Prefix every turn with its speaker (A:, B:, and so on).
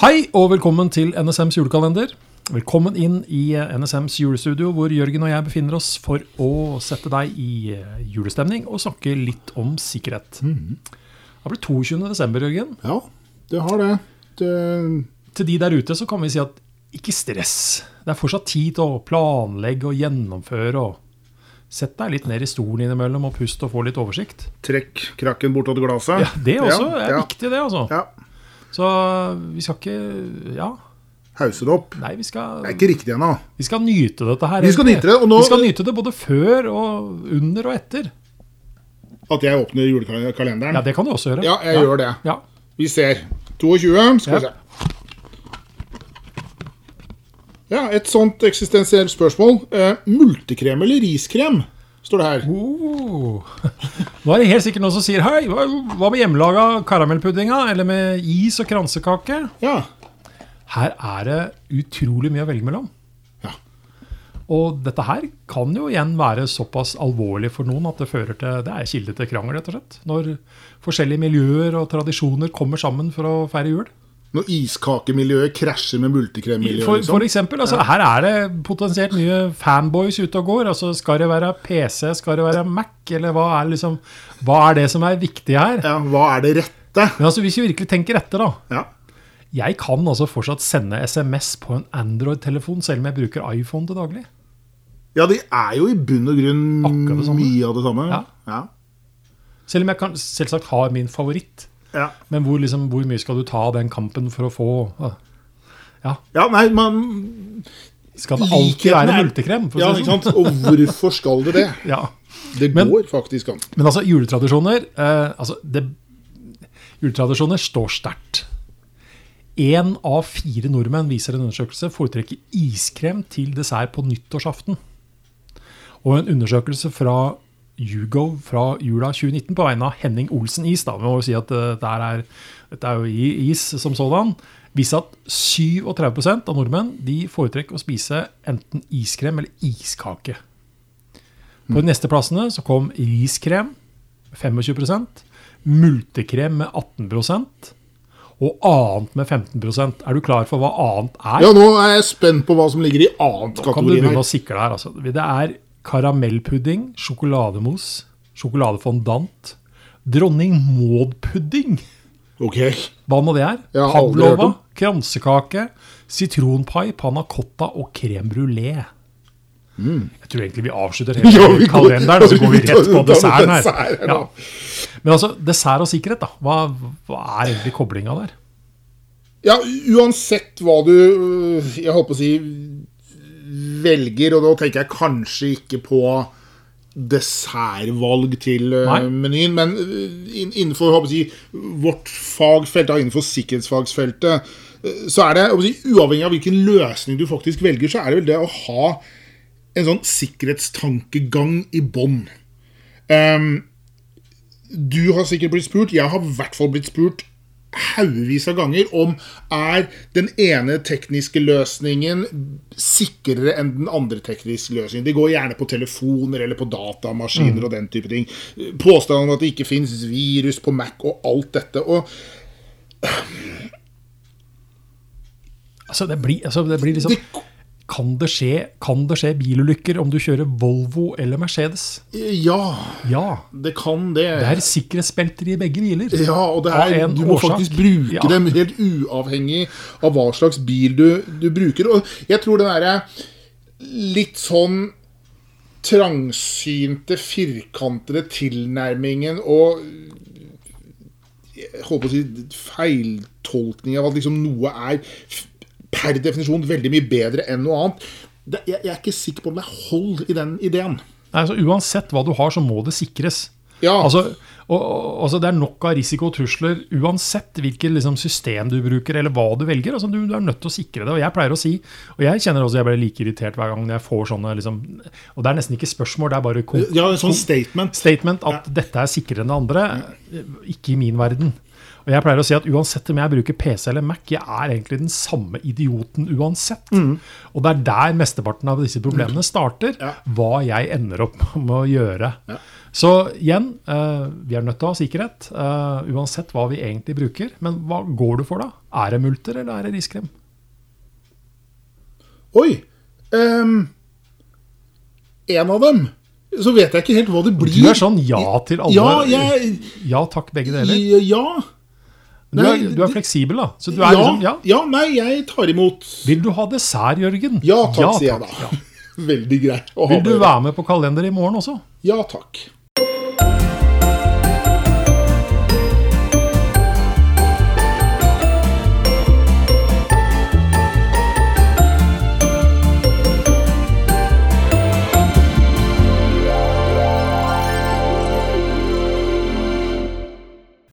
A: Hei og velkommen til NSMs julekalender. Velkommen inn i eh, NSMs julestudio, hvor Jørgen og jeg befinner oss for å sette deg i eh, julestemning og snakke litt om sikkerhet.
B: Mhm.
A: Det blir 22. desember, Jørgen.
B: Ja, det har det. det
A: Til de der ute så kan vi si at ikke stress. Det er fortsatt tid til å planlegge og gjennomføre. og Sett deg litt ned i stolen innimellom og pust og få litt oversikt.
B: trekk krakken bortåt glasset.
A: Ja, det også er
B: ja,
A: viktig, det. altså.
B: Ja.
A: Så eh, vi skal ikke Ja,
B: Hause det opp.
A: nei, vi skal
B: Det er ikke riktig ennå.
A: Vi skal nyte dette her.
B: Vi skal
A: egentlig.
B: nyte det, og nå-
A: Vi skal nyte det både før og under og etter.
B: At jeg åpner julekalenderen.
A: Ja, det kan du også gjøre.
B: Ja, jeg gjør det.
A: Ja.
B: Vi ser. 22,
A: Ja.
B: skal vi se. Ja, et sånt eksistensielt spørsmål. Eh, multekrem eller riskrem, står det her.
A: Oh. Nå er det helt sikkert noen som sier hei, hva hva med hjemmelaga karamellpuddinga? Eller med is og kransekake?
B: Ja.
A: Her er det utrolig mye å velge mellom.
B: Ja.
A: Og dette her kan jo igjen være såpass alvorlig for noen at det fører til Det er kilde til krangel, rett og slett. Når forskjellige miljøer og tradisjoner kommer sammen for å feire jul.
B: Når iskakemiljøet krasjer med
A: For,
B: multekremmiljøet,
A: for
B: liksom.
A: eksempel, altså, her er det potensielt mye fanboys ute og går. Altså, skal det være PC, skal det være Mac, eller hva er, liksom, hva er det som er viktig her?
B: Ja, hva er det rette?
A: Men altså, hvis vi virkelig tenker etter, da.
B: Ja.
A: Jeg kan altså fortsatt sende SMS på en Android-telefon, selv om jeg bruker iPhone til daglig.
B: ja, de er jo i bunn og grunn
A: Akkurat det samme.
B: mye av det samme.
A: Ja.
B: ja.
A: Selv om jeg kan, selvsagt har min favoritt.
B: ja.
A: Men hvor, liksom, hvor mye skal du ta av den kampen for å få ah,
B: Ja, nei, man
A: Skal det alltid
B: Likheten
A: være
B: er-
A: multekrem? For å
B: Ja,
A: si det
B: ikke
A: sånn?
B: sant? Og hvorfor skal du det?
A: Ja.
B: Det
A: Men-
B: går faktisk an.
A: Men altså, juletradisjoner eh, altså, det, Juletradisjoner står sterkt. Én av fire nordmenn viser en undersøkelse foretrekker iskrem til dessert på nyttårsaften. Og en undersøkelse fra Hugo fra jula 2019 på vegne av Henning Olsen Is da, vi må jo si at eh, dette, er, dette er jo i- is som sådan, viser at 37 av nordmenn de foretrekker å spise enten iskrem eller iskake. På de neste plassene så kom riskrem 25 multekrem med 18 og annet med 15 Er du klar for hva annet er?
B: Ja, nå er jeg spent på hva som ligger i
A: kan du
B: annet-kategorien
A: begynne
B: her.
A: å sikle her. Altså. Det er karamellpudding, sjokolademos, sjokoladefondant, dronning Maud-pudding.
B: Ok.
A: Hva nå det er?
B: Jeg har aldri hørt om.
A: kransekake, sitronpai, panna cotta og crème brulé. Jeg tror egentlig vi avslutter hele
B: Ja, Mm. vi går-
A: kalenderen, og så går vi
B: vi
A: rett på
B: tar- tar
A: desserten her. Ja.
B: desserten, da.
A: Men altså, dessert og sikkerhet, da. Hva, hva er egentlig koblinga der?
B: Ja, uansett hva du øh, Jeg holdt på å si velger, og da tenker jeg kanskje ikke på dessertvalg til øh,
A: Nei.
B: menyen, men øh, inn- innenfor holdt på å si, vårt fagfelt, da, innenfor sikkerhetsfagsfeltet, øh, så er det holdt på å si, uavhengig av hvilken løsning du faktisk velger, så er det vel det å ha en sånn sikkerhetstankegang i bånn. Ehm, du har sikkert blitt spurt, jeg har i hvert fall blitt spurt haugevis av ganger om er den ene tekniske løsningen sikrere enn den andre tekniske løsningen. Det går gjerne på telefoner eller på datamaskiner og den type ting. Påstanden om at det ikke fins virus på Mac og alt dette. Og
A: Altså, det blir, altså, det blir liksom
B: det,
A: kan det, skje, kan det skje bilulykker om du kjører Volvo eller Mercedes?
B: ja,
A: Ja.
B: det kan det.
A: Det er sikkerhetsbelter i begge biler.
B: Ja, og det
A: Av
B: er,
A: en
B: du må
A: årsak.
B: faktisk bruke
A: Ja.
B: dem helt uavhengig av hva slags bil du, du bruker. Og jeg tror det derre litt sånn trangsynte, firkantede tilnærmingen og jeg holdt på å si feiltolkning av at liksom noe er f- per definisjon veldig mye bedre enn noe annet. Det, jeg, jeg er ikke sikker på om det er hold i den ideen.
A: Nei, altså, uansett hva du har, så må det sikres.
B: Ja.
A: Altså, og, og, altså, det er nok av risiko og trusler uansett hvilket liksom, system du bruker eller hva du velger. Altså, du, du er nødt til å sikre det. Og jeg pleier å si, og jeg kjenner også jeg blir like irritert hver gang jeg får sånne liksom, Og det er nesten ikke spørsmål, det er bare kon
B: Ja, en sånn statement.
A: statement at dette er sikrere enn det andre. ikke i min verden. Og jeg pleier å si at uansett om jeg bruker PC eller Mac, jeg er egentlig den samme idioten uansett. Og det er der mesteparten av disse problemene starter,
B: Mm. Ja.
A: hva jeg ender opp med å gjøre.
B: Ja.
A: Så igjen, eh, vi er nødt til å ha sikkerhet, eh, uansett hva vi egentlig bruker. Men hva går du for da? Er det multer, eller er det riskrem?
B: Oi! ehm, en av dem. Så vet jeg ikke helt hva det blir.
A: Du er sånn ja til alle.
B: Ja, jeg,
A: Ja takk, begge deler.
B: ja.
A: Du er,
B: Nei,
A: du er
B: det-
A: fleksibel, da. Så du
B: Ja,
A: er liksom, ja.
B: ja, nei, jeg tar imot.
A: Vil du ha dessert, Jørgen?
B: Ja takk, sier jeg
A: takk.
B: da. Veldig greit. å ha
A: Vil du
B: det.
A: være med på kalender i morgen også?
B: Ja takk.